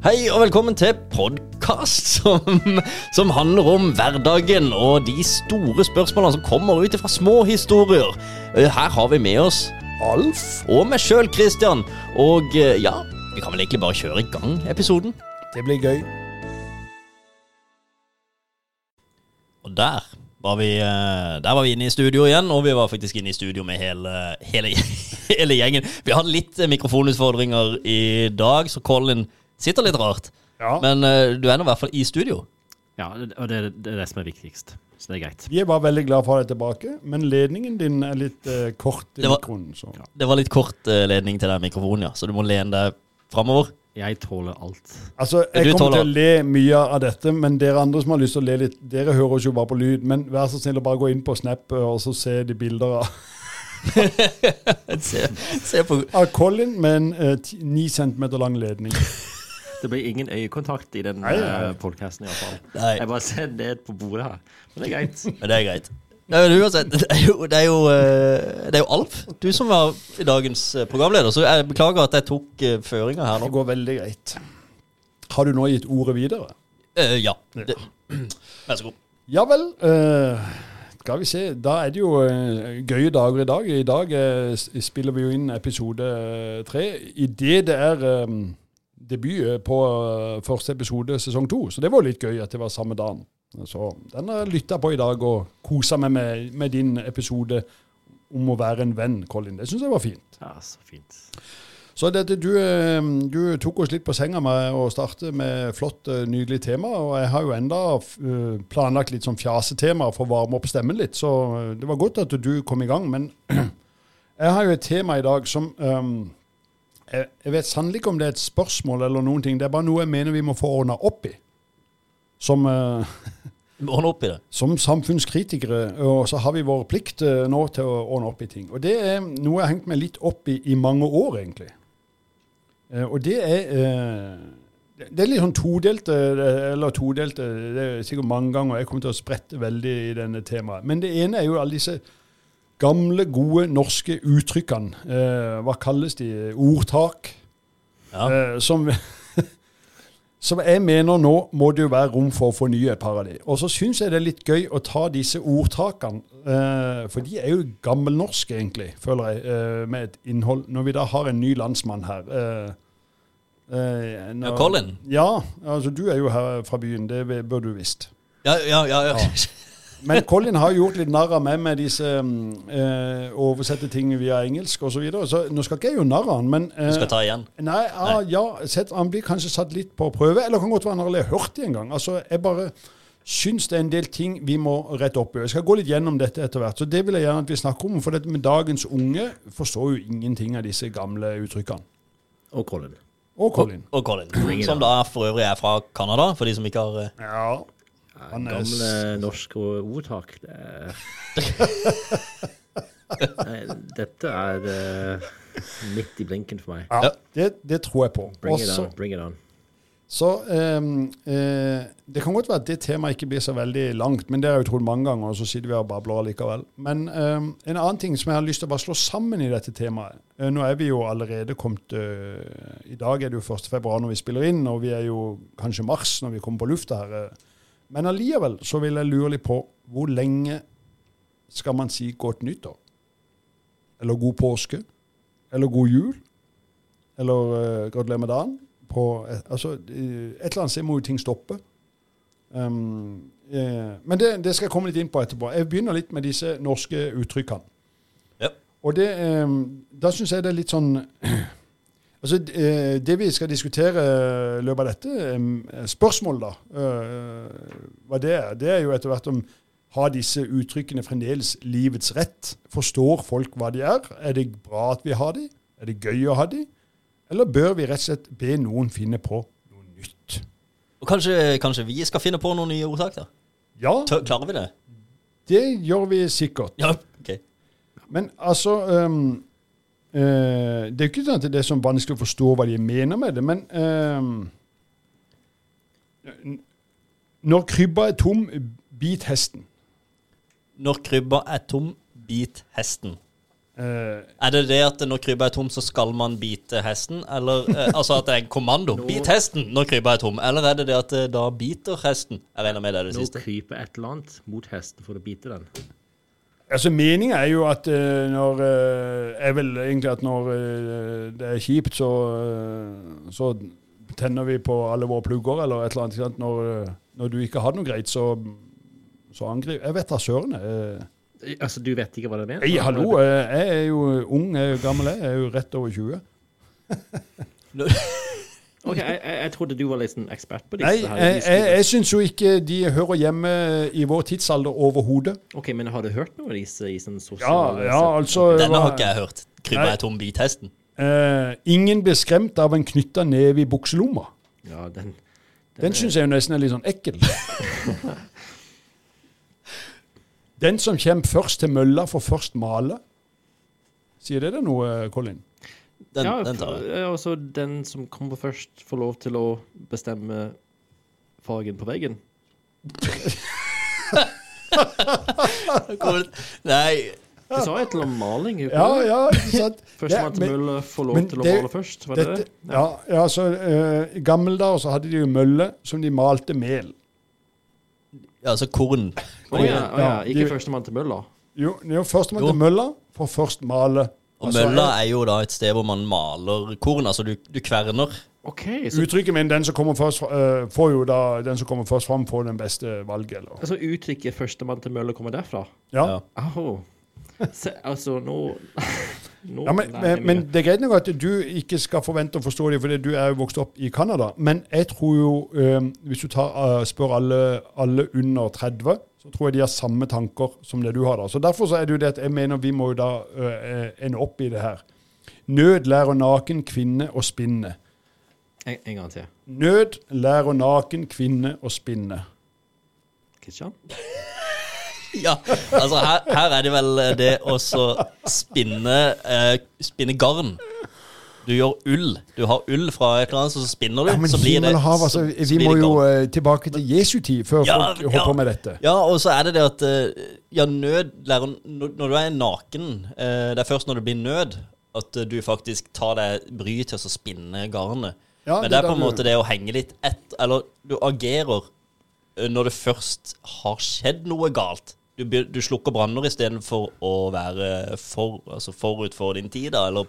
Hei og velkommen til podkast som, som handler om hverdagen og de store spørsmålene som kommer ut fra små historier. Eh, Her har vi med oss Alf og meg sjøl, Christian. Og eh, ja, vi kan vel egentlig bare kjøre i gang episoden. Det blir gøy. Og der var vi, eh, der var vi inne i studio igjen, og vi var faktisk inne i studio med hele, hele, hele gjengen. Vi hadde litt eh, mikrofonutfordringer i dag, så Colin sitter litt rart. Ja. Men eh, du er nå i hvert fall i studio. Ja, og det, det er det som er viktigst. Så det er greit. Vi er bare veldig glad for deg tilbake, men ledningen din er litt eh, kort i Det var- mikrofonen. Så. Det var litt kort eh, ledning til den mikrofonen, ja, så du må lene deg framover. Jeg tåler alt. Altså, Du jeg kommer tåler- til å le mye av dette, men dere andre som har lyst til å le litt, dere hører oss jo bare på lyd. Men vær så snill å bare gå inn på Snap eh, og så se de bilder av, Se, se på av Colin med en eh, ti- ni centimeter lang ledning. Det blir ingen øyekontakt i den eh, Nei, nei. podkasten iallfall. Nei. Jeg bare ser ned på bordet her. Men det er greit. Men det er greit. Nei, men uansett, det er, jo, det, er jo, eh, det er jo Alf, du som var i dagens eh, programleder, så jeg beklager at jeg tok eh, føringa her nå. Det går veldig greit. Har du nå gitt ordet videre? Eh, ja. Det. Vær så god. Ja vel. eh, skal vi se. Da er det jo eh, gøye dager i dag. I dag eh, s- spiller vi jo inn episode eh, tre. I det det er eh, debut på eh, første episode sesong to. Så det var jo litt gøy at det var samme dagen. Så den har jeg lytta på i dag og kosa meg med, med din episode om å være en venn, Colin. Det syns jeg var fint. Ja, så fint. Så dette, du, eh, du tok oss litt på senga med å starte med flott, eh, nydelig tema. Og jeg har jo enda f- eh, planlagt litt sånn fjasetema for å varme opp stemmen litt. Så eh, det var godt at du kom i gang. Men jeg har jo et tema i dag som eh, jeg, jeg vet sannelig ikke om det er et spørsmål eller noen ting. Det er bare noe jeg mener vi må få ordna opp i. Som eh, Du må Ordne opp i det. som samfunnskritikere, og så har vi vår plikt eh, nå til å ordne opp i ting. Og det er noe jeg har hengt meg litt opp i i mange år, egentlig. Eh, Og det er eh, det- Det er litt sånn todelt, eh, eller todelt eh, Det er sikkert mange ganger, og jeg kommer til å sprette veldig i denne temaet. Men det ene er jo alle disse gamle, gode norske uttrykkene. Eh, Hva kalles de? Ordtak. Ja. Eh, som, som jeg mener nå må det jo være rom for å fornye et par av de. Og så syns jeg det er litt gøy å ta disse ordtakene, eh, for de er jo gammelnorske, egentlig, føler jeg, eh, med et innhold. Når vi da har en ny landsmann her. eh, eh, når- Ja, Colin. Ja, altså du er jo her fra byen, det bør du visst. Ja, ja, ja. ja. Men Colin har jo gjort litt narr av meg med disse mm, eh, oversette ting via engelsk osv. Så, videre. så nå skal ikke jeg gjøre narr av han, men eh, Du skal ta igjen. Nei, ja, ja sett, han blir kanskje satt litt på prøve, eller kan godt være han har aldri har hørt det engang. Altså, jeg bare syns det er en del ting vi må rette opp i. Jeg skal gå litt gjennom dette etter hvert, så det vil jeg gjerne at vi snakker om. For dette med dagens unge forstår jo ingenting av disse gamle uttrykkene. Og Colin. Og Colin. Og Colin. Som da for øvrig er fra Canada, for de som ikke har eh, Ja. Han er Gamle s- norske ordtak. Det er... Nei, dette er eh, midt i blinken for meg. ja, det, det tror jeg på. Bring it Også- on. Bring it on. Så ehm, eh, Det kan godt være at det temaet ikke blir så veldig langt, men det har jeg jo trodd mange ganger, og så sitter vi og babler likevel. Men ehm, en annen ting som jeg har lyst til å bare slå sammen i dette temaet eh, Nå er vi jo allerede kommet eh, I dag er det jo 1. februar når vi spiller inn, og vi er jo kanskje mars når vi kommer på lufta her. eh. Men allikevel så vil jeg lure litt på hvor lenge skal man si godt nyttår? Eller god påske? Eller god jul? Eller uh, gratulerer med dagen? På, eh, altså, eh, et eller annet sted må jo ting stoppe. Um, eh, men det, det skal jeg komme litt inn på etterpå. Jeg begynner litt med disse norske uttrykkene. Ja. Og det, em, da syns jeg det er litt sånn Altså, d- eh, det vi skal diskutere i løpet av dette, em, er spørsmål da, eh, hva det er, det er jo etter hvert om har disse uttrykkene fremdeles livets rett? Forstår folk hva de er? Er det bra at vi har de? Er det gøy å ha de? Eller bør vi rett og slett be noen finne på noe nytt? Og kanskje, kanskje vi skal finne på noen nye ordtak, da? Ja, Tør, klarer vi det? det gjør vi sikkert. Ja, ok. Men altså øhm, øh, Det er jo ikke sånn at det er så vanskelig å forstå hva de mener med det, men øhm, n- Når krybba er tom, bit hesten. Når krybba er tom, bit hesten. Eh, Er det det at når krybba er tom, så skal man bite hesten? Eller eh, altså at det er en kommando? Bit hesten når krybba er tom. Eller er det det at eh, da biter hesten? Jeg regner med det er det Nå siste. kryper et eller annet mot hesten for å bite den. Altså, Meninga er jo at eh, når eh, Er vel egentlig at når eh, det er kjipt, så, eh, så tenner vi på alle våre plugger eller et eller annet. Ikke sant? Når, eh, når du ikke hadde noe greit, så, så angriper Jeg vet da søren. eh. Altså, du vet ikke hva det er? Hei, hallo. eh, jeg er jo ung, jeg er jo gammel, jeg er jo rett over 20. Ok, jeg, jeg, jeg trodde du var litt sånn ekspert på disse Nei, her. jeg, jeg, jeg syns jo ikke de hører hjemme i vår tidsalder overhodet. Ok, men har du hørt noe av disse i sånn Ja, sosiale ja, altså Denne har hva- ikke jeg hørt. Krybba er tom, bit hesten. eh, Ingen blir skremt av en knytta neve i bukselomma. ja, den, Den syns jeg jo nesten er litt sånn ekkel. Den som kommer først til mølla, får først male. Sier det deg noe, Colin? Den, ja, den tar jeg. ja, altså den som kommer først, får lov til å bestemme fargen på veggen. Kommer det- Nei, Du sa et eller annet om maling. gjorde Ja, du ikke det? ja, ikke sant? Førstemann til men- mølle får lov men til å det- male først, var det Dette, det? ja, ja, så eh, I gamle dager så hadde de jo mølle som de malte mel. altså korn. Å ja, å ja, Ja, ikke de- førstemann til mølla. Jo, jo førstemann Jo. til mølla får først male. Og Altså, mølla er jo da et sted hvor man maler korn. Altså du, du kverner. OK, jeg- så Uttrykket min, den som kommer først, fra- eh, får jo da, den som kommer først fram, får den beste valget. Eller? altså, uttrykket 'førstemann til mølle' kommer derfra? Ja. Ja. Au. Se, altså, nå, nå Ja, men, lærer jeg men, men mye. det er greit nok at du ikke skal forvente å forstå det, fordi du er jo vokst opp i Canada. Men jeg tror jo, eh, hvis du tar, eh, spør alle, alle under 30, så tror jeg de har samme tanker som det du har. da. Så Derfor så er det jo det at jeg mener vi må jo da eh, ende opp i det her. Nød lærer naken kvinne å spinne. en, en gang til. Nød lærer naken kvinne å spinne. Kristian? Ja, altså her, her er det vel eh, det å så spinne, eh, spinne garn. Du gjør ull. Du har ull fra et eller annet, så spinner du. Ja, men så blir det, himmel og hav, altså, så- så vi blir må det jo garn. eh, tilbake til Jesu tid før Ja, folk holdt ja. på med dette. Ja, og så er det det at eh, Ja, nød lærer Når når du er naken eh, Det er først når det blir nød at eh, du faktisk tar deg bry til å så spinne garnet. Ja, Men det det er er på en der du- måte det å henge litt ett Eller du agerer eh, når det først har skjedd noe galt. Du, be- du slukker branner istedenfor å være for, altså forut for din tid, da, eller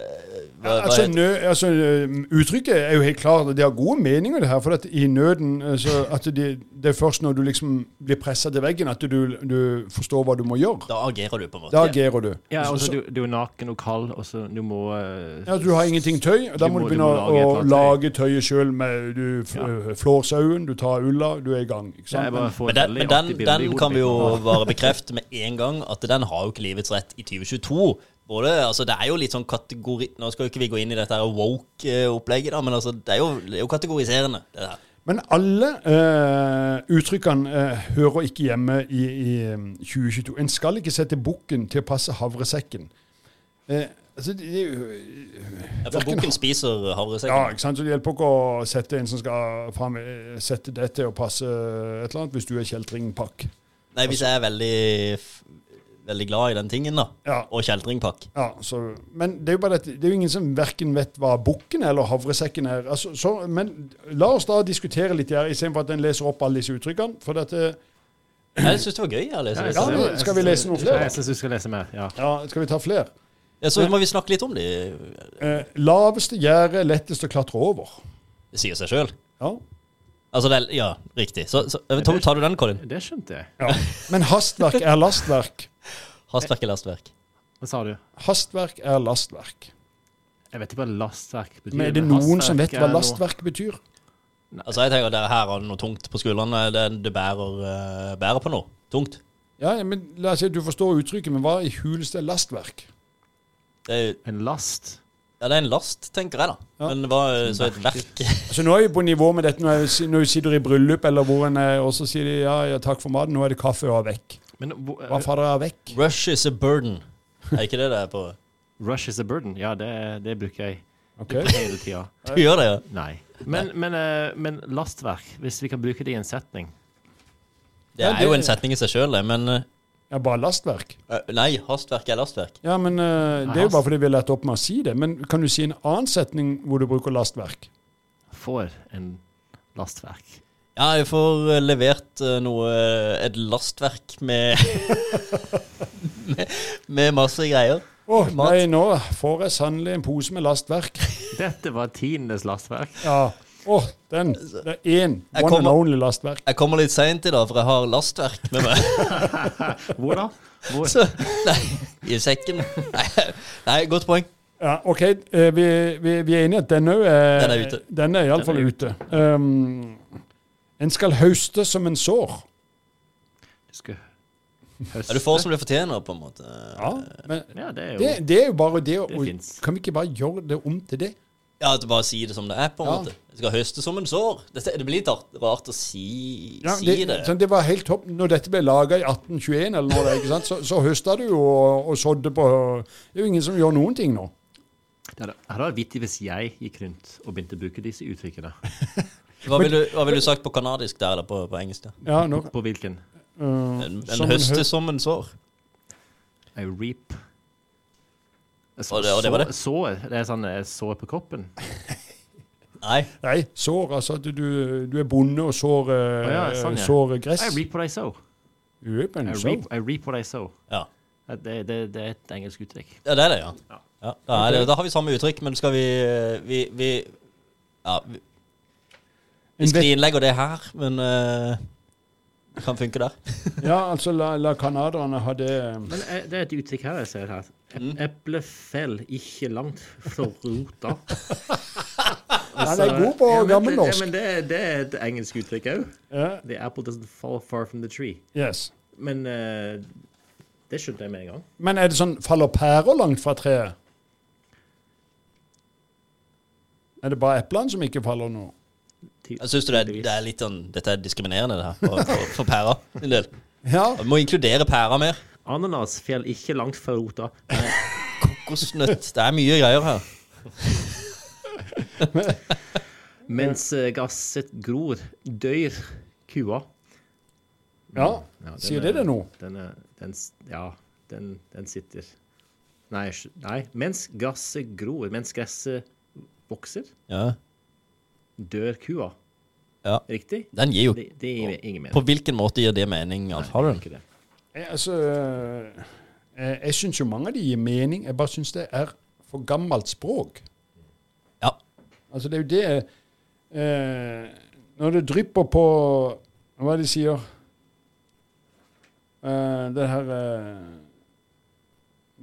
eh, hva, hva Altså, heter det? nø, altså, øhm, uttrykket er jo helt klart, det har gode meninger det her, for at i nøden, øh, så at det, det er først når du liksom blir presset til veggen, at du, du forstår hva du må gjøre. Da agerer du, på en måte. Da agerer du. Ja, Så- altså, så- du, du er naken og kald, og så du må eh, ja, du har ingenting tøy, og da Du må du må- begynne du må lage et eller å annet lage tøyet sjøl med Du f- øh, flår sauen, du tar ulla, du er i gang. Ikke sant? Jeg bare får Men et den, veldig men artig den, bilde i den hodet kan vi mitt. jo bare bekrefte med en gang, at den har jo ikke livets rett i 2022. Både, altså Det er jo litt sånn kategori... Nå skal jo ikke vi gå inn i dette her woke-opplegget, da, men altså, det er jo, det er jo kategoriserende. det her. Men alle øh, uttrykkene øh, hører ikke hjemme i, i øhm, 2022. En skal ikke sette bukken til å passe havresekken. Eh, altså, det, det, er jo- Ja, For Hverken bukken spiser Ja, havresekken. ikke sant? Så det hjelper ikke å sette en som skal fram, eh, sette det til å passe et eller annet, hvis du er kjeltringpakk. Nei, hvis jeg er veldig, f- veldig glad i den tingen, da, Ja. og kjeltringpakk Ja, så, men det er jo bare dette, det er jo ingen som verken vet hva bukken eller havresekken er. Altså, så, men la oss da diskutere litt her, istedenfor at en leser opp alle disse uttrykkene. For eh, dette, Nei, Jeg syns det var gøy. Jeg jeg leser, Ja, disse. synes men det- skal vi lese noen flere? Jeg syns du skal lese mer. Ja. ja, skal vi ta flere? ja, så må vi snakke litt om det. Eh, laveste gjerde, lettest å klatre over. Det sier seg sjøl. Ja. Altså, det er, ja, riktig. Så, så Tom, tar du den, Colin? Det skjønte jeg. ja. Men hastverk er lastverk. Hastverk eller lastverk? Hva sa du? Hastverk er lastverk. Jeg vet ikke hva lastverk betyr. Men er det noen som vet hva lastverk betyr? Altså jeg tenker at dere her har noe tungt på skuldrene. Det, det bærer, eh, bærer på noe tungt. Ja, ja, men la oss si at Du forstår uttrykket, men hva i huleste er lastverk? Det er, En last? ja, det er en last, tenker jeg, da. Ja. Men hva eh, så et verk? Altså Nå er vi på nivå med dette når jeg si- når du sitter i bryllup, eller hvor en er, og så sier de ja, ja, takk for maten, nå er det kaffe og vekk. Men, hvor- Hva fader er vekk? Rush is a burden. Er ikke det det er på Rush is a burden. Ja, det, det bruker jeg Ok. hele tida. Du gjør det, ja? Nei. Men, men, eh, men lastverk, hvis vi kan bruke det i en setning Det Ja, er jo det- en setning i seg sjøl, men eh, Ja, bare lastverk? Eh, Nei, hastverk er lastverk. Ja, men eh, Det er altså. jo bare fordi vi har lært opp med å si det. Men kan du si en annen setning hvor du bruker lastverk? Får en lastverk. Ja, jeg får eh, levert eh, noe Et lastverk med med, med masse greier. Å, Mat. nei, nå får jeg sannelig en pose med lastverk. Dette var tiendes lastverk. Ja. Å, den. Det er én. Altså. Jeg One and kommer- only lastverk. Jeg kommer litt seint i dag, for jeg har lastverk med meg Hvor da? Hvor? så, nei, i sekken. Nei, nei, godt poeng. Ja, OK, eh, vi, vi, vi er enige at denne òg er Den er ute. Den er iallfall ute. Um, en skal høste som en sår. Du skal Ja, du får som du fortjener, på en måte. Ja, men Ja, det er jo det, det er jo bare det å Det finnes. Kan vi ikke bare gjøre det om til det? Ja, at du bare sier det som det er, på en Ja. måte. Jeg skal høste som en sår. Dette, det blir litt art- rart å si, Ja, si det, det. sånn, det var helt topp. Når dette ble laga i 1821, eller når det, er, ikke sant? Så, så høsta du jo og, og sådde på Det er jo ingen som gjør noen ting nå. Det hadde det hadde vært vittig hvis jeg gikk rundt og begynte å bruke disse uttrykkene. Hva ville du, hva vil du sagt på kanadisk der, eller på, på engelsk? der? Ja, nå, På hvilken? øh, En, som en en hø- høste som en sår. I reap. Så, Og det- og det var det? Så, sår. det er sånn eh, sår på kroppen. Nei. Nei, sår. Altså at du, du er bonde og sår, eh, Å ja, sånn, ja. sår gress. I reap what I sow. Yep, and I so. reap, I reap what I sow. Ja. Eh, Det, det, det er et engelsk uttrykk. ja, det er det, ja. ja da, er det, da har vi samme uttrykk, men skal vi Vi, vi, ja, vi, En vi vet- skrinlegger det her, men eh, det kan funke der. Ja, altså la, la canadierne ha det eh, Men eh, det er et uttrykk her jeg ser her. Mm. E- Eplefell ikke langt fra rota. Nei, Altså, det er god på Ja, men det- gammelnorsk. Ja, men det, det er et engelsk uttrykk òg. Ja, The apple doesn't fall far from the tree. yes. Men eh, det skjønte jeg med en gang. Men er det sånn Faller pærer langt fra treet? Er det bare eplene som ikke faller nå? Ty- Jeg syns det, er- det er litt sånn Dette er diskriminerende, det her, for, for, for pæra. En del. Ja. Vi må inkludere pæra mer. Ananas fjell ikke langt fra rota. Kokosnøtt. Det er mye greier her. Mens eh, gasset gror, dør kua. ja. Ja, den Sier er- det det nå? Den er den, s- Ja, den, den sitter. Nei, sj- nei. Mens gasset gror, mens gresset vokser, Ja. dør kua. Ja. Riktig? Den gir jo Det, det gir ingen På mening. hvilken måte gir det mening? altså? Alf? Har du den? Ikke det. Jeg, altså, eh, jeg syns jo mange av de gir mening. Jeg bare syns det er for gammelt språk. Ja. Altså, det er jo det eh, Når det drypper på Hva er det de sier? Eh, det her eh,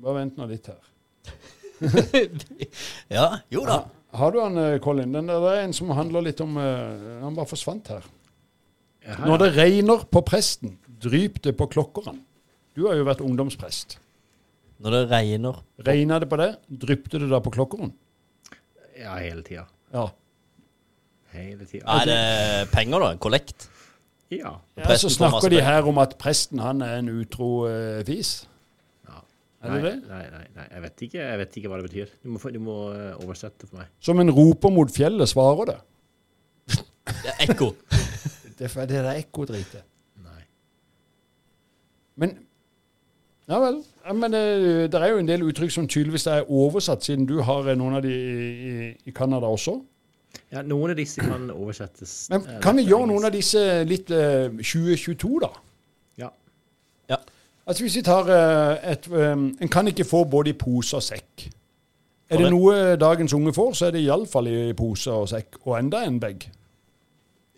Bare vent nå litt her. ja. Jo da. Har du han, eh, Colin? Den der, det er en som handler litt om eh, Han bare forsvant her. Ja, Når det regner på presten, dryp det på klokkeren. Du har jo vært ungdomsprest. Når det regner Regna det på det, dryppte det da på klokkeren? ja, hele tida. Ja. Hele tida. Er det penger, da? Kollekt? Ja. ja Presten så får masse snakker de penger. her om at presten han er en utro eh, fis. ja. Er det nei, det? Nei, nei, nei. Jeg, vet ikke, jeg vet ikke hva det betyr. Du må, få- du må eh, oversette for meg. Som en roper mot fjellet svarer det. Det er ekko. Det er det der ekkodritet. Nei. Men Ja vel. Ja, men eh, det, det er jo en del uttrykk som tydeligvis er oversatt, siden du har eh, noen av de i, i, i Canada også. Ja, noen av disse kan oversettes. eh, Men kan vi gjøre noen av disse litt eh, 2022, da? Ja. Ja. Altså Hvis vi tar eh, et eh, En kan ikke få både i pose og sekk. Er det Correct. noe dagens unge får, så er det iallfall i pose og sekk, og enda en bag.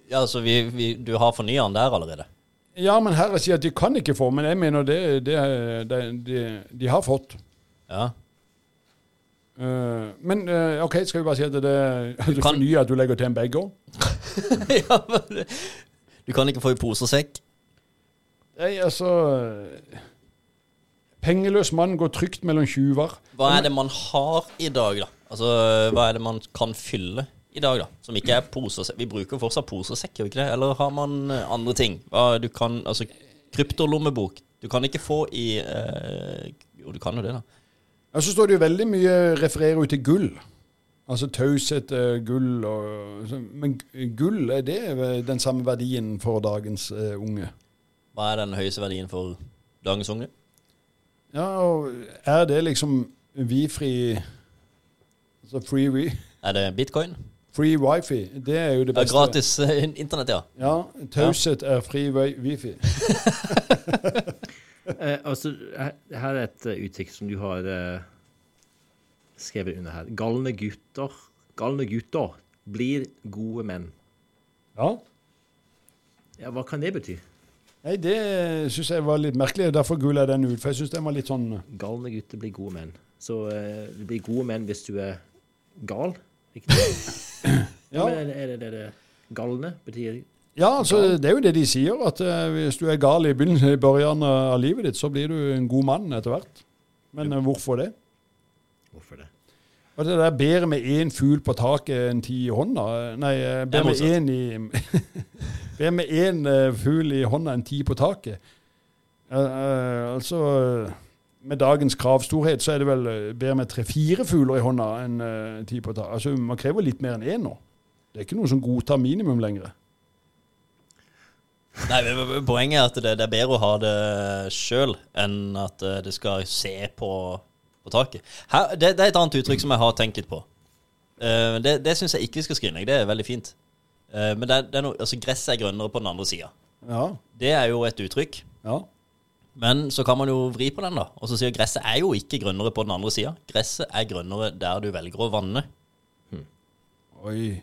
Ja, altså, vi, vi, du har fornya den der allerede. Ja, men her sier at de kan ikke få, men jeg mener det, det, er- det, de, de har fått. Ja. Eh, men eh, OK, skal vi bare si at det er kan- fornyer at du legger til en bag òg? ja men, det- du kan ikke få i pose og sekk. Nei, altså eh, Pengeløs mann går trygt mellom tjuver. Hva er det man har i dag, da? Altså, hva er det man kan fylle i dag, da? Som ikke er pose og sekk. Vi bruker fortsatt pose og sekk, gjør vi ikke det? Eller har man eh, andre ting? Hva du kan Altså, kryptolommebok. Du kan ikke få i eh, Jo, du kan jo det, da. Og så står det jo veldig mye refererer jo til gull. Altså taushet, eh, gull og så- Men gu- gull, er det den samme verdien for dagens eh, unge? Hva er den høyeste verdien for Dagens unge. Ja, og er det liksom vi-fri Altså free, wi- Er det bitcoin? free wifi. Det er jo det Ja, beste. gratis eh, internett, ja. Ja, taushet er free wi- wifi. Eh, altså, her her er et eh, uttrykk som du har eh, skrevet under her. Galne gutter, galne gutter blir gode menn. Ja. Ja, hva kan det bety? Nei, det syns jeg var litt merkelig. Derfor gula jeg den ut. For jeg syns den var litt sånn Galne gutter blir gode menn. Så eh, du blir gode menn hvis du er gal. Riktig. Ja, Men er det- er det det det galne betyr? ja altså, det er jo det de sier. At eh, hvis du er gal i begynnelsen i børjan av livet ditt, så blir du en god mann etter hvert. Men eh, hvorfor det? Hvorfor det? Og det der bedre med én fugl på taket enn ti i hånda Nei, eh, Det er bedre med én i Bedre med én eh, fugl i hånda enn ti på taket. Eh, eh, altså eh, Med dagens kravstorhet så er det vel eh, bedre med tre-fire fugler i hånda enn eh, ti på taket. Altså, man krever litt mer enn én nå. Det er ikke noe som godtar minimum lenger. Nei, men- men Poenget er at det, det er bedre å ha det sjøl enn at eh, det skal se på, på taket. Her, det, det er et annet uttrykk som jeg har tenkt litt på. Eh, det det syns jeg ikke vi skal skrinlegge. Det er veldig fint. Eh, men det, er- det er noe, altså, gresset er grønnere på den andre sida. Ja, Det er jo et uttrykk. ja. Men så kan man jo vri på den, da. Og så sier gresset er jo ikke grønnere på den andre sida. Gresset er grønnere der du velger å vanne. Oi.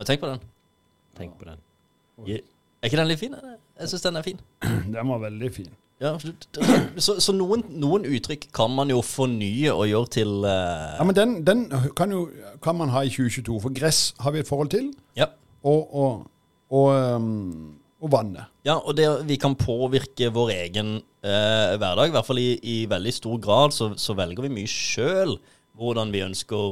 Og tenk på den. Tenk på den. Er ikke den litt fin? eller? Jeg syns den er fin. Den var veldig fin. Ja, absolutt. så, så noen, noen uttrykk kan man jo fornye og gjøre til eh, Ja, Men den, den kan, jo, kan man ha i 2022, for gress har vi et forhold til, ja. og, og, og, um, og vannet. ja, og det, vi kan påvirke vår egen eh, hverdag. I hvert fall i, i veldig stor grad så, så velger vi mye sjøl hvordan vi ønsker å,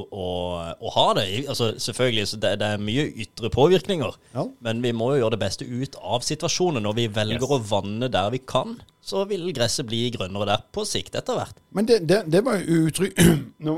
å ha det. I- Altså, selvfølgelig, så det, det er mye ytre påvirkninger, Ja. men vi må jo gjøre det beste ut av situasjonen. Når vi velger å vanne der vi kan, så vil gresset bli grønnere der på sikt etter hvert. Men det, det, det var jo uttrykk Nå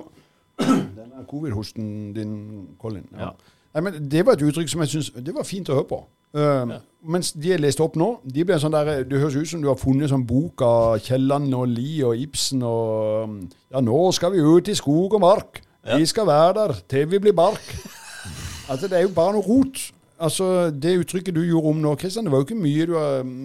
Den er covid-hosten din, Colin. Ja. Ja. Nei, men det var et uttrykk som jeg syns Det var fint å høre på. Um, Mens de jeg leste opp nå, de ble sånn der Det høres ut som du har funnet sånn bok av Kielland og Lie og Ibsen og um, Ja, nå skal vi ut i skog og mark. Vi skal være der til vi blir bark. Altså, det er jo bare noe rot. Altså, det uttrykket du gjorde om nå, Kristian, det var jo ikke mye du har um,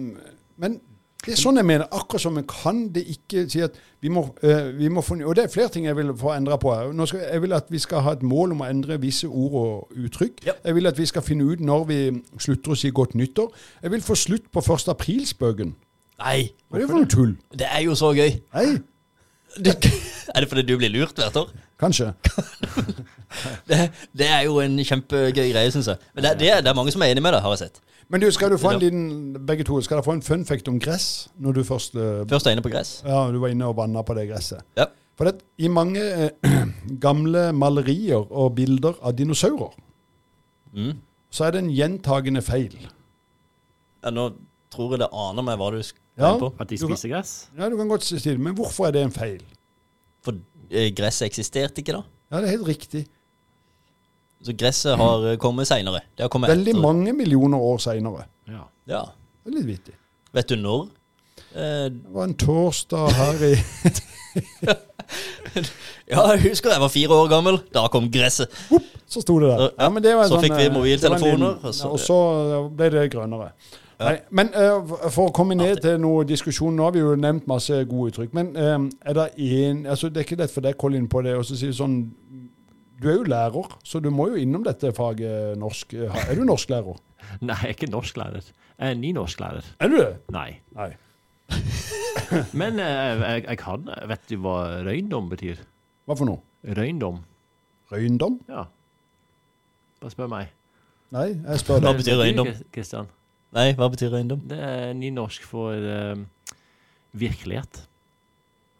Men det er sånn jeg mener. Akkurat som en kan det ikke si at vi må, eh, vi må forny- Og det er flere ting jeg vil få endra på her. Nå skal, jeg vil at vi skal ha et mål om å endre visse ord og uttrykk. Ja. Jeg vil at vi skal finne ut når vi slutter å si godt nyttår. Jeg vil få slutt på 1. april-spøken. Nei, Hva er det for noe tull? det er jo så gøy. Nei, Du, er det fordi du blir lurt hvert år? kanskje. Det, det er jo en kjempegøy greie, syns jeg. Men det, det, er- det er mange som er enig med deg, har jeg sett. Men du, skal du få en liten, begge to, skal dere få en fun fact om gress når du først eh, Først er jeg inne på gress. Ja, du var inne og vanna på det gresset. Ja. For det, i mange eh, gamle malerier og bilder av dinosaurer, Mm. så er det en gjentagende feil. Ja, nå tror jeg det aner meg hva du skal Ja. på. At de Du kan- spiser gress? Ja, du kan godt si det, men hvorfor er det en feil? For eh, gresset eksisterte ikke da. Ja, det er helt riktig. Så gresset har eh, kommet seinere. Det har kommet Veldig etter. mange millioner år seinere. Ja. Ja. Det er litt vittig. Vet du når? Eh, Det var en torsdag her i ja, jeg husker jeg var fire år gammel. Da kom gresset. Så sto det der. Så- ja, men det var en så fikk vi eh, mobiltelefoner, det var en liten- og så- Og så eh, ble det grønnere. Nei, men eh, for å komme ned til noe diskusjon, nå har vi jo nevnt masse gode uttrykk. Men eh, er det en, altså Det er ikke lett for deg, Colin, på det og så si sånn Du er jo lærer, så du må jo innom dette faget norsk. Eh, Er du norsklærer? Nei, jeg er ikke norsklærer. Jeg er ny norsklærer. Er du det? Nei. Nei. Men eh, jeg, jeg kan Vet du hva røyndom betyr? Hva for noe? Røyndom? Røyndom? Ja. Bare spør meg. Nei, jeg spør Hva deg. betyr røyndom? Kristian? Nei, hva betyr røyndom? Det er nynorsk for eh, virkelighet.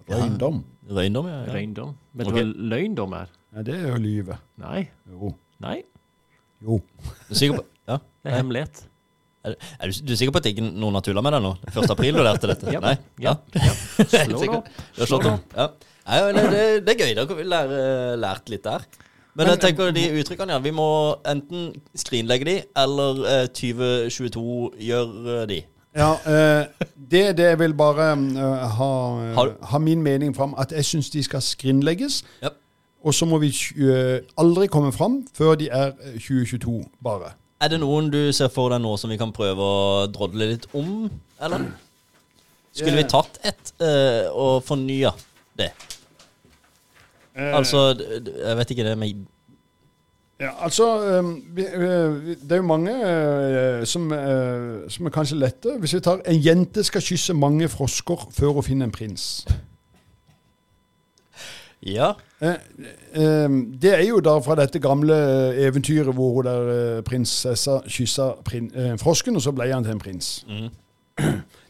Røyndom? Røyndom, ja. ja. Røyndom. Ok. Vet du hva løgndom er? Ja, det er jo lyve. Nei. Jo. Nei. Jo. Du er sikker på ja. Det er hemmelighet. Er du, er du, du er sikker på at ikke noen har tulla med deg nå? 1. april du lærte dette? Ja. Nei? Ja. Slå det opp. Du har slått opp? sånn, Ja. Nei, men det, det, det er gøy. Da kan vi lære, lært litt der. Men jeg tenker de uttrykkene, ja. Vi må enten skrinlegge de, eller eh, 2022 gjøre de. Ja, eh, det, det jeg vil bare eh, ha, Har du- ha min mening fram, at jeg syns de skal skrinlegges. Ja. Og så må vi tj- eh, aldri komme fram før de er eh, 2022, bare. Er det noen du ser for deg nå som vi kan prøve å drodle litt om, eller? Skulle vi tatt ett eh, og fornya det? Altså, d- d- jeg vet ikke det med Ja, altså um, vi, eh, vi- Det er jo mange eh, som, eh, som er kanskje lette. Hvis vi tar 'En jente skal kysse mange frosker før hun finner en prins'. Ja. Eh, eh, det er jo da fra dette gamle eh, eventyret hvor hun der eh, prinsessa kyssa prin, eh, frosken, og så ble han til en prins. Mhm.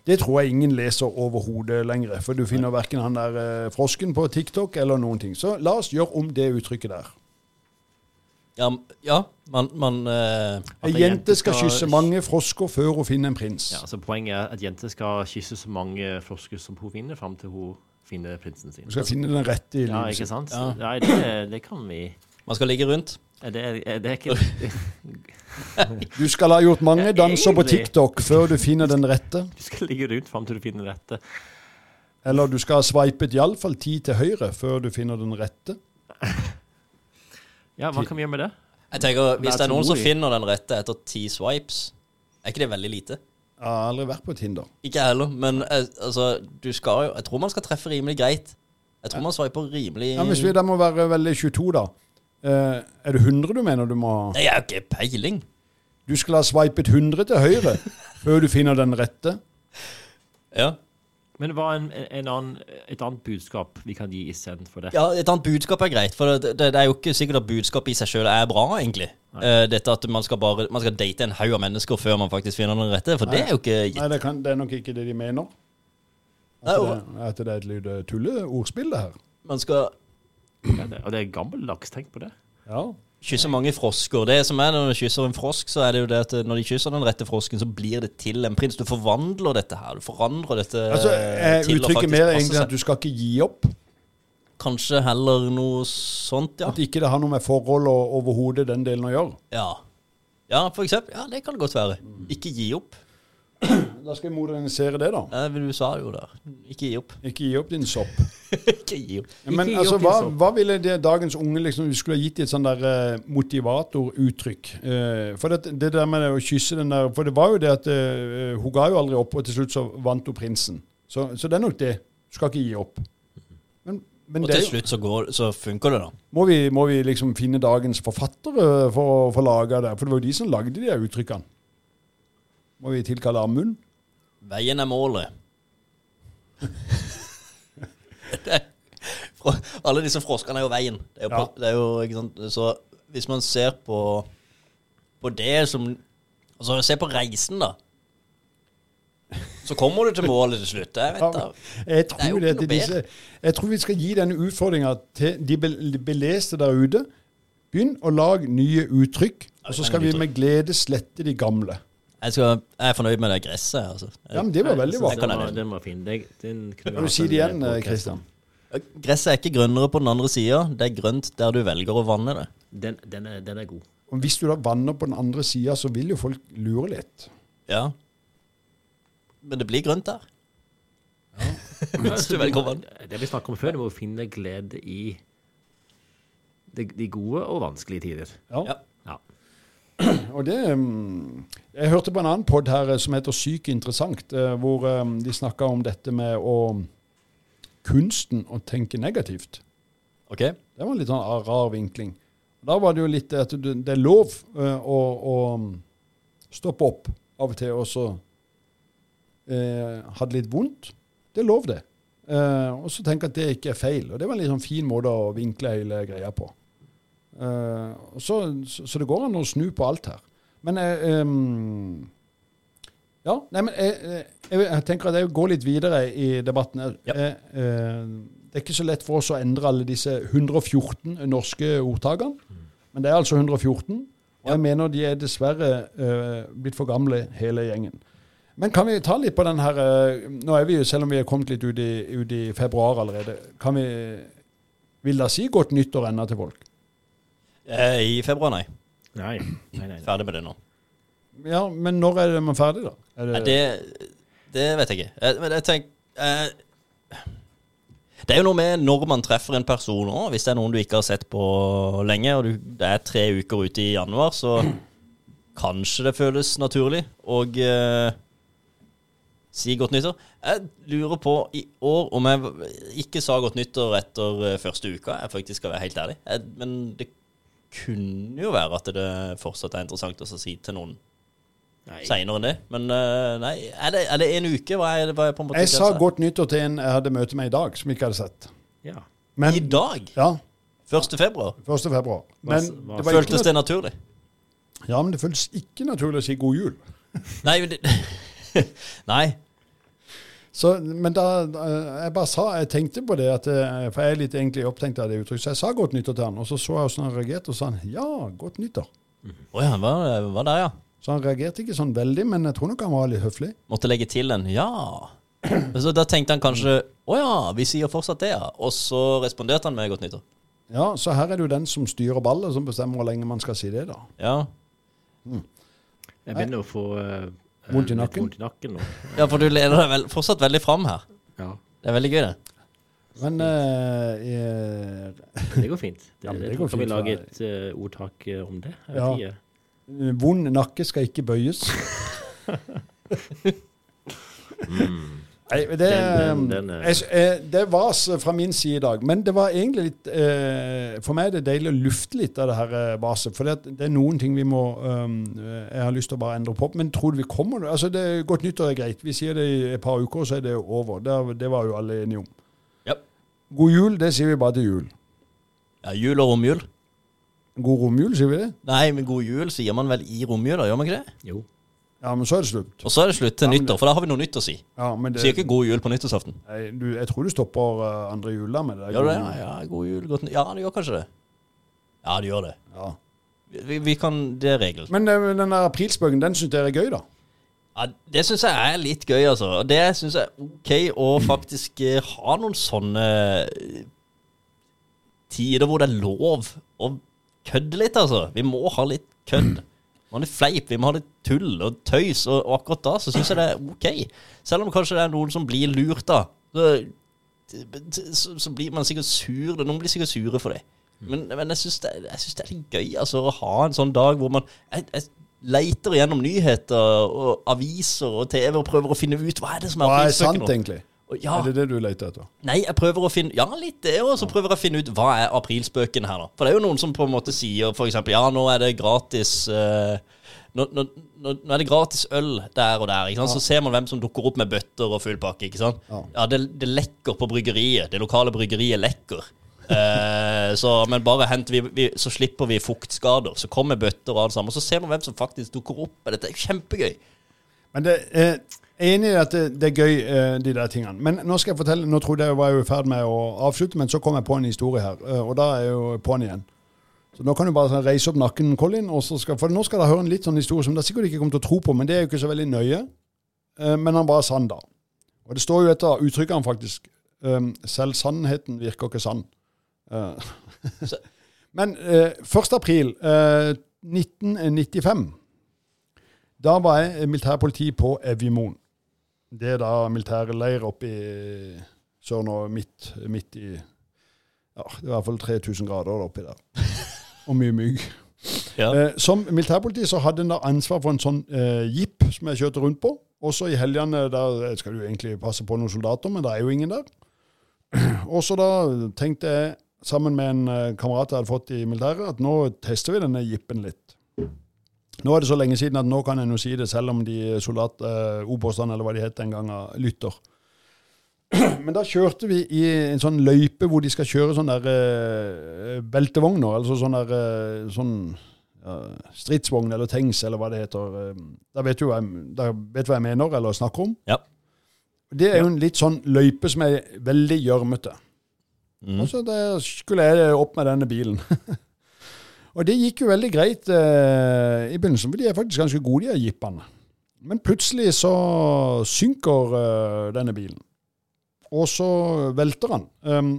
Det tror jeg ingen leser overhodet lenger, for du finner verken han der eh, frosken på TikTok eller noen ting. Så la oss gjøre om det uttrykket der. Ja, m- ja man, man eh, Ei en jente jente skal skal- kysse mange frosker før hun finner en prins. Ja, så Poenget er at jenter skal kysse så mange frosker som hun finner, fram til hun finner prinsen sin. Du skal finne den rette i Ja, livet ikke sitt. sant? Ja. Nei, det, det kan vi Man skal ligge rundt. Er Det er, er det ikke Du skal ha gjort mange Ja, danser på egentlig. TikTok før du finner den rette. Du skal ligge rundt fram til du finner dette. Eller du skal ha sveipet iallfall ti til høyre før du finner den rette. Ja, hva kan vi gjøre med det? Jeg tenker, Hvis det er noen som Naturlig. finner den rette etter ti swipes, er ikke det veldig lite? Jeg har aldri vært på Tinder. Ikke jeg heller, men eh, altså, du skal jo Jeg tror man skal treffe rimelig greit. Jeg tror man swiper rimelig Ja, hvis vi da må være veldig 22, da. Eh, er det 100 du mener du må ha? Nei, jeg har jo ikke peiling. Du skal ha sveipet 100 til høyre før du finner den rette. Ja. Men hva er en, en annen, et annet budskap vi kan gi istedenfor det? ja, Et annet budskap er greit, for det, det, det er jo ikke sikkert at budskapet i seg sjøl er bra, egentlig. Eh, dette at man skal bare Man skal date en haug av mennesker før man faktisk finner den rette, for det er jo ikke gitt. Nei, det, kan, det er nok ikke det de mener. Eh, Nei, At det, og- at det er et lite tulleordspill, det her. Man skal Ja, det- Og det er gammeldags, tenk på det. Ja. kysser mange frosker. Det som er Når du kysser en frosk, så er det jo det at eh, når de kysser den rette frosken, så blir det til en prins. Du forvandler dette her. Du forandrer dette Altså, eh, er til å faktisk uttrykket mer passe egentlig seg. at du skal ikke gi opp? Kanskje heller noe sånt, ja. At ikke det har noe med forhold og overhodet den delen å gjøre? Ja, ja for eksempel. Ja, det kan det godt være. Mm. Ikke gi opp. Da skal vi modernisere det, da. Eh, Du sa jo der. Ikke gi opp. Ikke gi opp din sopp. Ikke gi opp. Men gi altså, opp din hva, sopp. hva ville det dagens unge liksom, Du skulle ha gitt i et sånn der eh, motivatoruttrykk. Eh, for det, det der med det å kysse den der For det var jo det at eh, hun ga jo aldri opp, og til slutt så vant hun prinsen. Så, så det er nok det. Du skal ikke gi opp. Men, men Og det, til er jo- slutt så, går, så funker det, da. må, vi, må vi liksom finne dagens forfattere for å få laga det? For det var jo de som lagde de der uttrykkene. Må vi tilkalle Amund? Veien er målet. det er, fra- alle disse froskene er jo veien. Det er jo, Ja. pla- det er jo ikke sant? Så hvis man ser på, på det som Altså, se på reisen, da. Så kommer du til målet til slutt. Jeg vet da. Jeg Det er jo tror, ikke det at noe disse, jeg tror vi skal gi denne utfordringa til de be- beleste der ute. Begynn å lage nye uttrykk, og så skal vi med glede slette de gamle. Jeg, skal, jeg er fornøyd med det gresset. Altså. Ja, men Det var veldig Jeg synes bra. Den var, den var fin. Den, den kunne vi Kan du hatt si en, det igjen, eh, podcast Kristian? om. Gresset er ikke grønnere på den andre sida. Det er grønt der du velger å vanne det. Den, den, er, den er god. Og Hvis du da vanner på den andre sida, så vil jo folk lure litt. Ja. Men det blir grønt der. Hvis du Altså, velger å du må- vanne. Det vi snakket om før, du må finne glede i de, de gode og vanskelige tider. Ja. Ja. Ja. Og det mm, Jeg hørte på en annen pod her eh, som heter Syk interessant, eh, hvor eh, de snakka om dette med å Kunsten å tenke negativt. OK? Det var en litt sånn rar- rar vinkling. Da var det jo litt det at du- det er lov eh, å, å mm, stoppe opp av og til og så eh, ha det litt vondt. Det er lov, det. Eh, og så tenke at det ikke er feil. Og det var en litt sånn fin måte å vinkle hele greia på. Eh, og så, så, så det går an å snu på alt her. Men eh, em, ja, nei, men jeg, jeg, jeg, jeg tenker at jeg går litt videre i debatten. her. Ja. Jeg, eh, det er ikke så lett for oss å endre alle disse 114 norske ordtakene, men det er altså 114. Og jeg mener de er dessverre eh, blitt for gamle, hele gjengen. Men kan vi ta litt på den her eh, Nå er vi jo, selv om vi er kommet litt ut i, ut i februar allerede, kan vi Vil da si godt nyttår ennå til folk? Eh, I februar, nei. Nei, nei, nei. nei. Ferdig med det nå. Ja, men når er det man er ferdig, da? Er Nei, det, det det vet jeg ikke. Eh, Men jeg tenker eh, Det er jo noe med når man treffer en person òg. Hvis det er noen du ikke har sett på lenge, og du, det er tre uker ute i januar, så kanskje det føles naturlig. Og eh, si godt nyttår. Jeg lurer på i år om jeg v- ikke sa godt nyttår etter eh, første uka, jeg faktisk skal være helt ærlig. Jeg, men det kunne jo være at det fortsatt er interessant å så si til noen Nei. seinere enn det. Men eh, nei, er det, er det en uke? Hva er det, hva er på altså. en måte Jeg sa grensa? godt nyttår til en jeg hadde møte med i dag, som jeg ikke hadde sett. Ja. Men, I dag? ja, 1. februar? 1. februar. Men hva det, var ikke, Føltes det naturlig? nat- ja, men det føltes ikke naturlig å si god jul. Nei, men det, nei. Så, men da, da- jeg bare sa, jeg tenkte på det, at, eh, for jeg er litt egentlig opptenkt av det uttrykket, så jeg sa godt nyttår til han, og så så jeg hvordan han reagerte, og sa han, ja, godt nyttår. Å ja, hva, hva der, ja? Så han reagerte ikke sånn veldig, men jeg tror nok han var litt høflig. Måtte legge til en ja. Så da tenkte han kanskje å ja, vi sier fortsatt det, ja. Og så responderte han med godt nyttår. Ja, så her er det jo den som styrer ballet, som bestemmer hvor lenge man skal si det da. Ja. Jeg begynner å få eh, Vondt i litt nakken? Vondt i nakken nå. ja, for du lener deg vel, fortsatt veldig fram her. Ja. Det er veldig gøy, det. Men eh, eh, Men det går fint. Det, Ja, men det, det går kan vi fint, lage for- et eh, ordtak eh, om det. Jeg vet Ja. ikke. eh, vond nakke skal ikke bøyes. Mm. Nei, men det, Den- den- den er- jeg, jeg, det var s- fra min side i dag. Men det var egentlig litt eh, For meg er det deilig å lufte litt av det her eh, vaset. For det, at det er noen ting vi må ehm, Jeg har lyst til å bare endre på. Men tror du vi kommer altså det, Godt nyttår er greit. Vi sier det i et par uker, så er det jo over. Det, det var jo alle enige om. Ja. God jul, det sier vi bare til jul. ja jul og romjul. God romjul, sier vi det? Nei, men god jul sier man vel i romjula, gjør man ikke det? Jo. Ja, men så er det slutt. Og så er det slutt til nyttår, for da har vi noe nytt å si. Ja, men det, Sier ikke god jul på nyttårsaften. nei, du, jeg tror du stopper eh, andre jula med det. der Gjør god det? Ja, jul. ja, god jul, godt nytt Ja, det gjør kanskje det. Ja, det gjør det. Ja. Vi, vi kan Det er regelen. Men eh, den der aprilspøken, den syns dere er gøy, da? Ja, det syns jeg er litt gøy, altså. Og Det syns jeg er OK å faktisk eh, ha noen sånne eh, tider hvor det er lov å kødde litt, altså. Vi må ha litt kødd. Vi må ha litt fleip, vi må ha litt tull og tøys, og, og akkurat da så syns jeg det er OK. Selv om kanskje det er noen som blir lurt, da. Så, så, så blir man sikkert sur. Noen blir sikkert sure for det. Men, men jeg syns det, jeg synes det er litt gøy altså, å ha en sånn dag hvor man jeg, jeg leiter gjennom nyheter og aviser og TV og prøver å finne ut hva er det som er Hva er aprilspøken sant, nå. egentlig? Og Ja, Er det det du leter etter? nei, jeg prøver å finne Ja, litt det òg. Så prøver jeg å finne ut hva er aprilspøken her, da. For det er jo noen som på en måte sier f.eks. ja, nå er det gratis eh, nå, nå, nå, nå er det gratis øl der og der. Ikke sant? Så ser man hvem som dukker opp med bøtter og full pakke. Ikke sant? Ja. Ja, det, det lekker på bryggeriet. Det lokale bryggeriet lekker. Eh, så, men bare hent, vi, vi, så slipper vi fuktskader. Så kommer bøtter og alt sammen. Og så ser man hvem som faktisk dukker opp. Dette er jo kjempegøy. Men det, eh, jeg er enig i at det, det er gøy, eh, de der tingene. Men nå skal jeg fortelle, nå trodde jeg var jeg i ferd med å avslutte, men så kom jeg på en historie her. eh, Og da er jeg jo på'n igjen. Så nå kan du bare sånn reise opp nakken, Colin. Og så skal, for nå skal dere høre en litt sånn historie som dere sikkert ikke kommer til å tro på, men det er jo ikke så veldig nøye. Eh, Men han bare sann, da. Og det står jo etter uttrykkene, faktisk. Um, Selv sannheten virker ikke sann. Eh, Så- Men eh, 1. april eh, 1995 da var jeg eh, militærpoliti på Evjemoen. Det er da militærleir oppe i Sør nå, midt, midt i Ja, det er i hvert fall 3000 grader oppi der. Og mye mygg. Ja. Eh, som militærpoliti så hadde en da ansvar for en sånn eh, jeep som jeg kjørte rundt på. Også i helgene der eh, skal du egentlig passe på noen soldater, men det er jo ingen der. Og så da tenkte jeg, sammen med en eh, kamerat jeg hadde fått i militæret, at nå tester vi denne jeepen litt. Nå er det så lenge siden at nå kan en jo si det, selv om de soldat, eh, oberstene eller hva de het den gangen, eh, lytter. Men da kjørte vi i en sånn løype hvor de skal kjøre sånne der, eh, beltevogner, altså sånne der, eh, sånn eh, stridsvogn eller tanks eller hva det heter. eh, Da vet du hva jeg, da vet du hva jeg mener eller snakker om. Ja. Det er jo en litt sånn løype som er veldig gjørmete. Og så der skulle jeg opp med denne bilen. og det gikk jo veldig greit eh, i begynnelsen, for de er faktisk ganske gode, de her jippene. Men plutselig så synker eh, denne bilen, og så velter han. Um,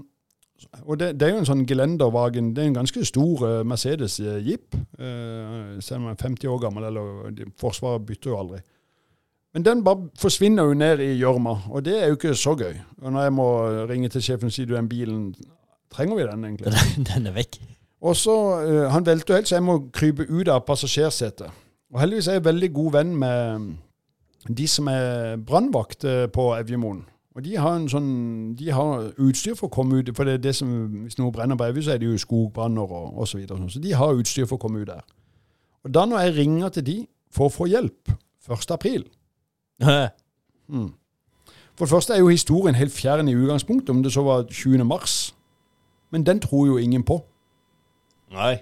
og det, det er jo en sånn gelendervagen, det er en ganske stor eh, Mercedes eh, Jeep. Eh, selv om den er 50 år gammel, eller de, Forsvaret bytter jo aldri. Men den bare forsvinner jo ned i gjørma, og det er jo ikke så gøy. Og når jeg må ringe til sjefen og si du, den bilen Trenger vi den egentlig? Den er vekk. Og så, eh, Han velter jo helt, så jeg må krype ut av passasjersetet. Og heldigvis er jeg veldig god venn med mm, de som er brannvakt eh, på Evjemoen. Og de har, en sånn, de har utstyr for å komme ut, for det er det som, hvis noe brenner på Evje, så er det jo skogbranner og osv. Så, videre og sånn. så de har utstyr for å komme ut der. Og da når jeg ringer til de for å få hjelp 1. april mm. For det første er jo historien helt fjern i utgangspunktet, om det så var 20. mars. Men den tror jo ingen på. Nei.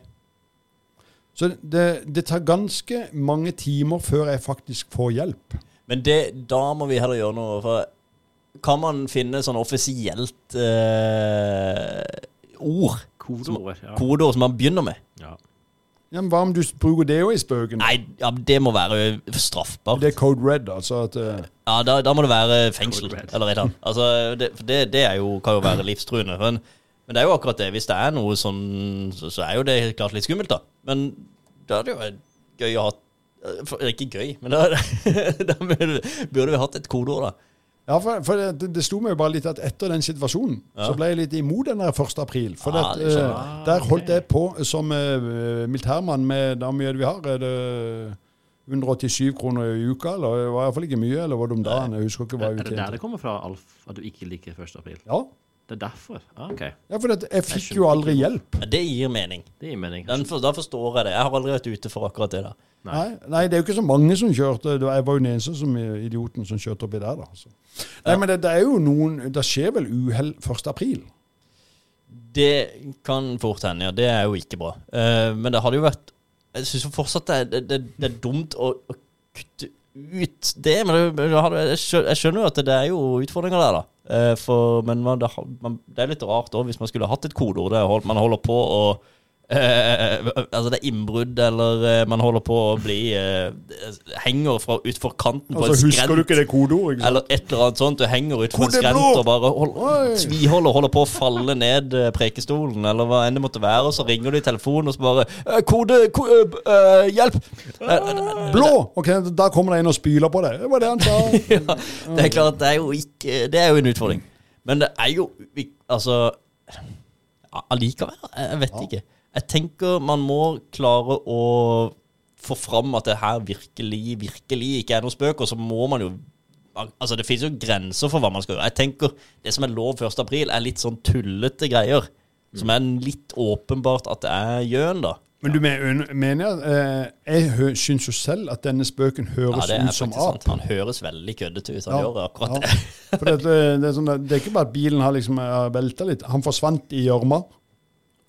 Så det, det tar ganske mange timer før jeg faktisk får hjelp. Men det, da må vi heller gjøre noe, for kan man finne sånn offisielt eh, ord, Kodeord. Ja. kodeord, som man begynner med? ja. Ja, men Hva om du bruker det òg i spøken? Nei, ja, det må være straffbart. Det er code red, altså. At, eh, Ja, da, da må det være fengsel Code red. eller et eller annet. Altså, det, for det, det er jo, kan jo være livstruende. Men, men det er jo akkurat det. Hvis det er noe sånn, så, så er jo det helt klart litt skummelt, da. Men da er det jo vært gøy å ha eh, for- Ikke gøy, men da, da burde, burde vi hatt et kodeord, da. ja, for, for det, det sto meg jo bare litt at etter den situasjonen så ble jeg litt imot den der 1. april. For Ja, at, det skjønner eh, Ah, der holdt jeg på som eh, militærmann med da mye vi har. Er det 187 kroner i uka, eller det var iallfall ikke mye? Eller var det om dagen? Jeg husker ikke hva Er jeg det der tjente. det kommer fra, Alf? At du ikke liker 1. april? Ja, Det er derfor? Ah, OK. ja for at jeg fikk skjønner jo aldri hjelp. Ja, Det gir mening. Det gir mening. Den for, da forstår jeg det. Jeg har aldri vært ute for akkurat det. da Nei. Nei, det er jo ikke så mange som kjørte. Det var- Jeg var jo den eneste som eh, idioten som kjørte oppi der, da. Så. Nei, men det, det er jo noen Det skjer vel uhell 1. april? Det kan fort hende, ja. Det er jo ikke bra. Eh, men det hadde jo vært Jeg syns fortsatt det er, det, det, det er dumt å, å kutte ut det. Men det, men det hadde- jeg skjø- jeg skjønner jo at det er jo utfordringer der, da. Eh, for, men man, det, har- man, det er litt rart òg, hvis man skulle hatt et kodeord. det er holdt- Man holder på å eh, altså det er innbrudd, eller eh, man holder på å bli eh, Henger fra utfor kanten på Altså, en husker skrent. du ikke det kodeordet? ikke sant? Eller et eller annet sånt. Du henger utfor en Kode blå! skrent og bare hold, Oi! tviholder og holder på å falle ned eh, prekestolen, eller hva enn det måtte være, og så ringer du i telefonen og så bare «Eh, Kode, ko, eh, b- eh, hjelp! Eh, eh, Blå! Ok, Da kommer det en og spyler på deg. Det var det han sa. ja, det er klart, det er jo ikke Det er jo en utfordring. Men det er jo vi- Altså Allikevel, jeg jeg vet ikke. Jeg tenker man må klare å få fram at det her virkelig, virkelig ikke er noe spøk, og så må man jo Altså, det finnes jo grenser for hva man skal gjøre. Jeg tenker Det som er lov 1. april, er litt sånn tullete greier. Som er litt åpenbart at det er gjøn, da. Men du men- mener jeg eh, Jeg hø- syns jo selv at denne spøken høres ja, det er ut som faktisk ap. sant. Han høres veldig køddete ut. Han Ja, gjør akkurat det. ja. For det, det, er sånn, at- det er ikke bare at bilen har liksom eh, velta litt. Han forsvant i gjørma.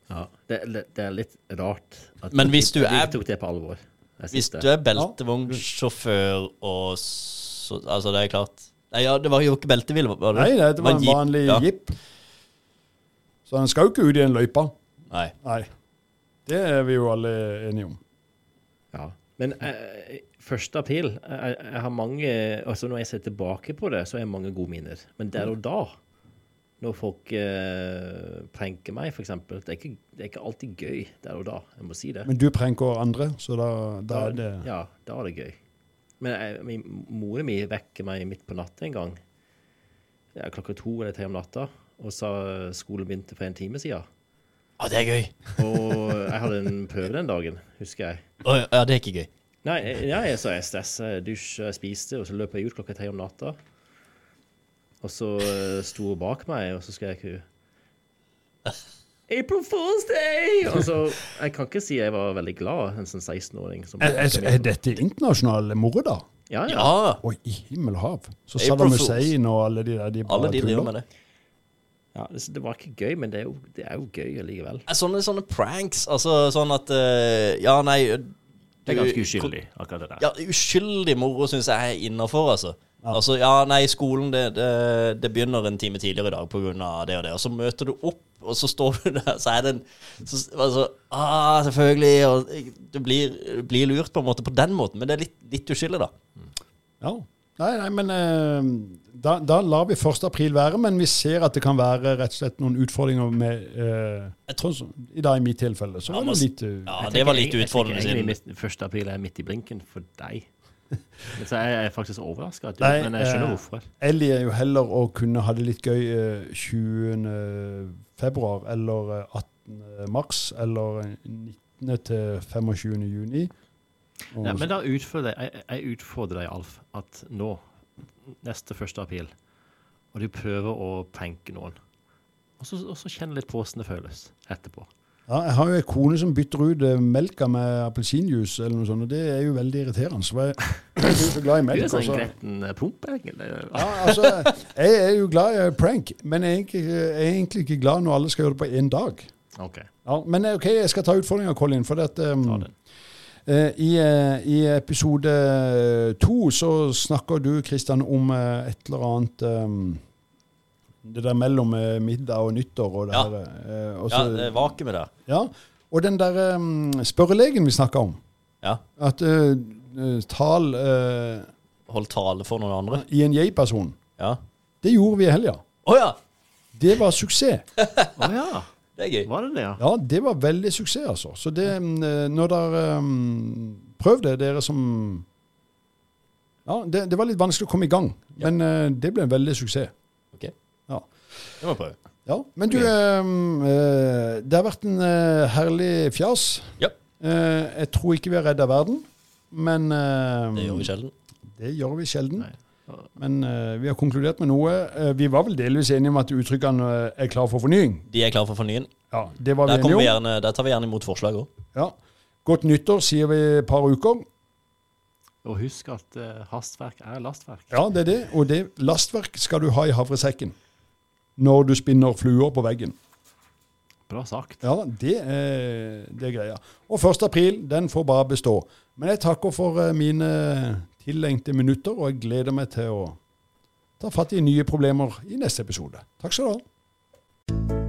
Ja. Det, det det er litt rart at Men hvis du jeg, er- ikke tok det på alvor. Jeg Hvis synes du det. er beltevognsjåfør og så Altså, det er klart Nei, ja, det var jo ikke beltebil, var det? Nei, det var en en jeep, vanlig ja. jeep. Så han skal jo ikke ut i en løype. Nei. Nei. Det er vi jo alle enige om. Ja. Men eh, 1. april eh, jeg, jeg har mange altså Når jeg ser tilbake på det, så er det mange gode minner. Men der og da, når folk eh, prenker meg, f.eks., det, er ikke- det er ikke alltid gøy der og da. Jeg må si det. Men du prenker andre, så da, da er det Ja, da er det gøy. Men jeg, min, moren min vekker meg midt på natta en gang. Det er klokka to eller tre om natta. Og sa skolen begynte for en time siden. Å, det er gøy. Og jeg hadde en prøve den dagen, husker jeg. Å, ja, det er ikke gøy. Nei, nei så jeg stressa, jeg dusja, jeg spiste, og så løp jeg ut klokka tre om natta. Og så eh, sto hun bak meg, og så skrek hun April Fool's Day! Og så, Jeg kan ikke si jeg var veldig glad, en sånn 16-åring. som- Er, er, er dette internasjonale moro, da? Ja, ja. Ja, Oi, i himmel og hav. Så April Saddam Fools. Hussein og alle de der de bare alle de driver med tuller. det. Ja, det, det var ikke gøy, men det er jo, det er jo gøy allikevel. Er Sånne, sånne pranks, altså sånn at eh, Ja, nei du- Det er ganske uskyldig, akkurat det der. Ja, uskyldig moro syns jeg er innafor, altså. Altså, ja, nei, skolen det, det, det begynner en time tidligere i dag pga. det og det. Og så møter du opp, og så står du der, så er det en så, altså, ah, Selvfølgelig. Og du blir, blir lurt på en måte på den måten, men det er litt, litt uskyldig, da. Ja. Nei, nei, men eh, da, da lar vi 1. april være, men vi ser at det kan være rett og slett noen utfordringer med eh, sånn som, I dag i mitt tilfelle, så Ja, var men- det litt eh, Ja, Jeg det tenker var litt egentlig- utfordrende. Jeg tenker siden egentlig midt- 1. april er midt i blinken for deg. Men Så jeg er faktisk overraska. Nei, Men jeg skjønner eh, hvorfor. Jeg liker jo heller å kunne ha det litt gøy eh, 20. februar eller eh, 18. mars eller 19. til 25. juni. Og- Ja, men da utfordrer jeg, jeg- jeg utfordrer deg, Alf, at nå, neste 1. april, og du prøver å pranke noen, og så, og så kjenner litt på hvordan det føles etterpå. Ja, jeg har jo ei kone som bytter ut eh, melka med appelsinjuice, eller noe sånt, og det er jo veldig irriterende. For jeg, jeg er jo så glad i Du er melk. sånn og så- gretten eh, promp, egentlig. Ja, altså, jeg er jo glad i eh, prank, men jeg er, egentlig, jeg er egentlig ikke glad når alle skal gjøre det på én dag. OK, Ja, men eh, OK, jeg skal ta utfordringa, Colin. For at, eh, Mm. ta den. eh, i, eh, I episode to så snakker du, Kristian, om eh, et eller annet eh, Det der mellom eh, middag og nyttår og det Ja. her. eh, og Ja, så- det er vakuumet der. ja, og den der um, spørrelegen vi snakka om, Ja. at eh, eh, tal eh, Hold tale for noen andre. i en jeg-person, Ja. det gjorde vi i helga. Å ja! Det var suksess. Å ja, Det er gøy. var det det, ja? Ja, det var veldig suksess, altså. Så det eh, Når dere um, Prøv det, dere som Ja, det, det var litt vanskelig å komme i gang, men eh, det ble en veldig suksess. Ok. Ja. Det må jeg prøve. ja. Men du, Ok. eh, eh, det har vært en eh, herlig fjas. Ja. Eh, jeg tror ikke vi har redda verden, men eh, Det gjør vi sjelden. Det gjør vi sjelden. Nei. Men eh, vi har konkludert med noe. Eh, vi var vel delvis enige om at uttrykkene eh, er klar for fornying. De er klare for fornying. Ja, det var Der, vi kommer vi enige om. gjerne, der tar vi gjerne imot forslag òg. Ja. Godt nyttår sier vi et par uker. Og husk at eh, hastverk er lastverk. Ja, det er det. Og det lastverk skal du ha i havresekken når du spinner fluer på veggen. Bra sagt. Ja, det er, det er greia. Og 1. april, den får bare bestå. Men jeg takker for eh, mine tillengte minutter, og jeg gleder meg til å ta fatt i nye problemer i neste episode. Takk skal du ha.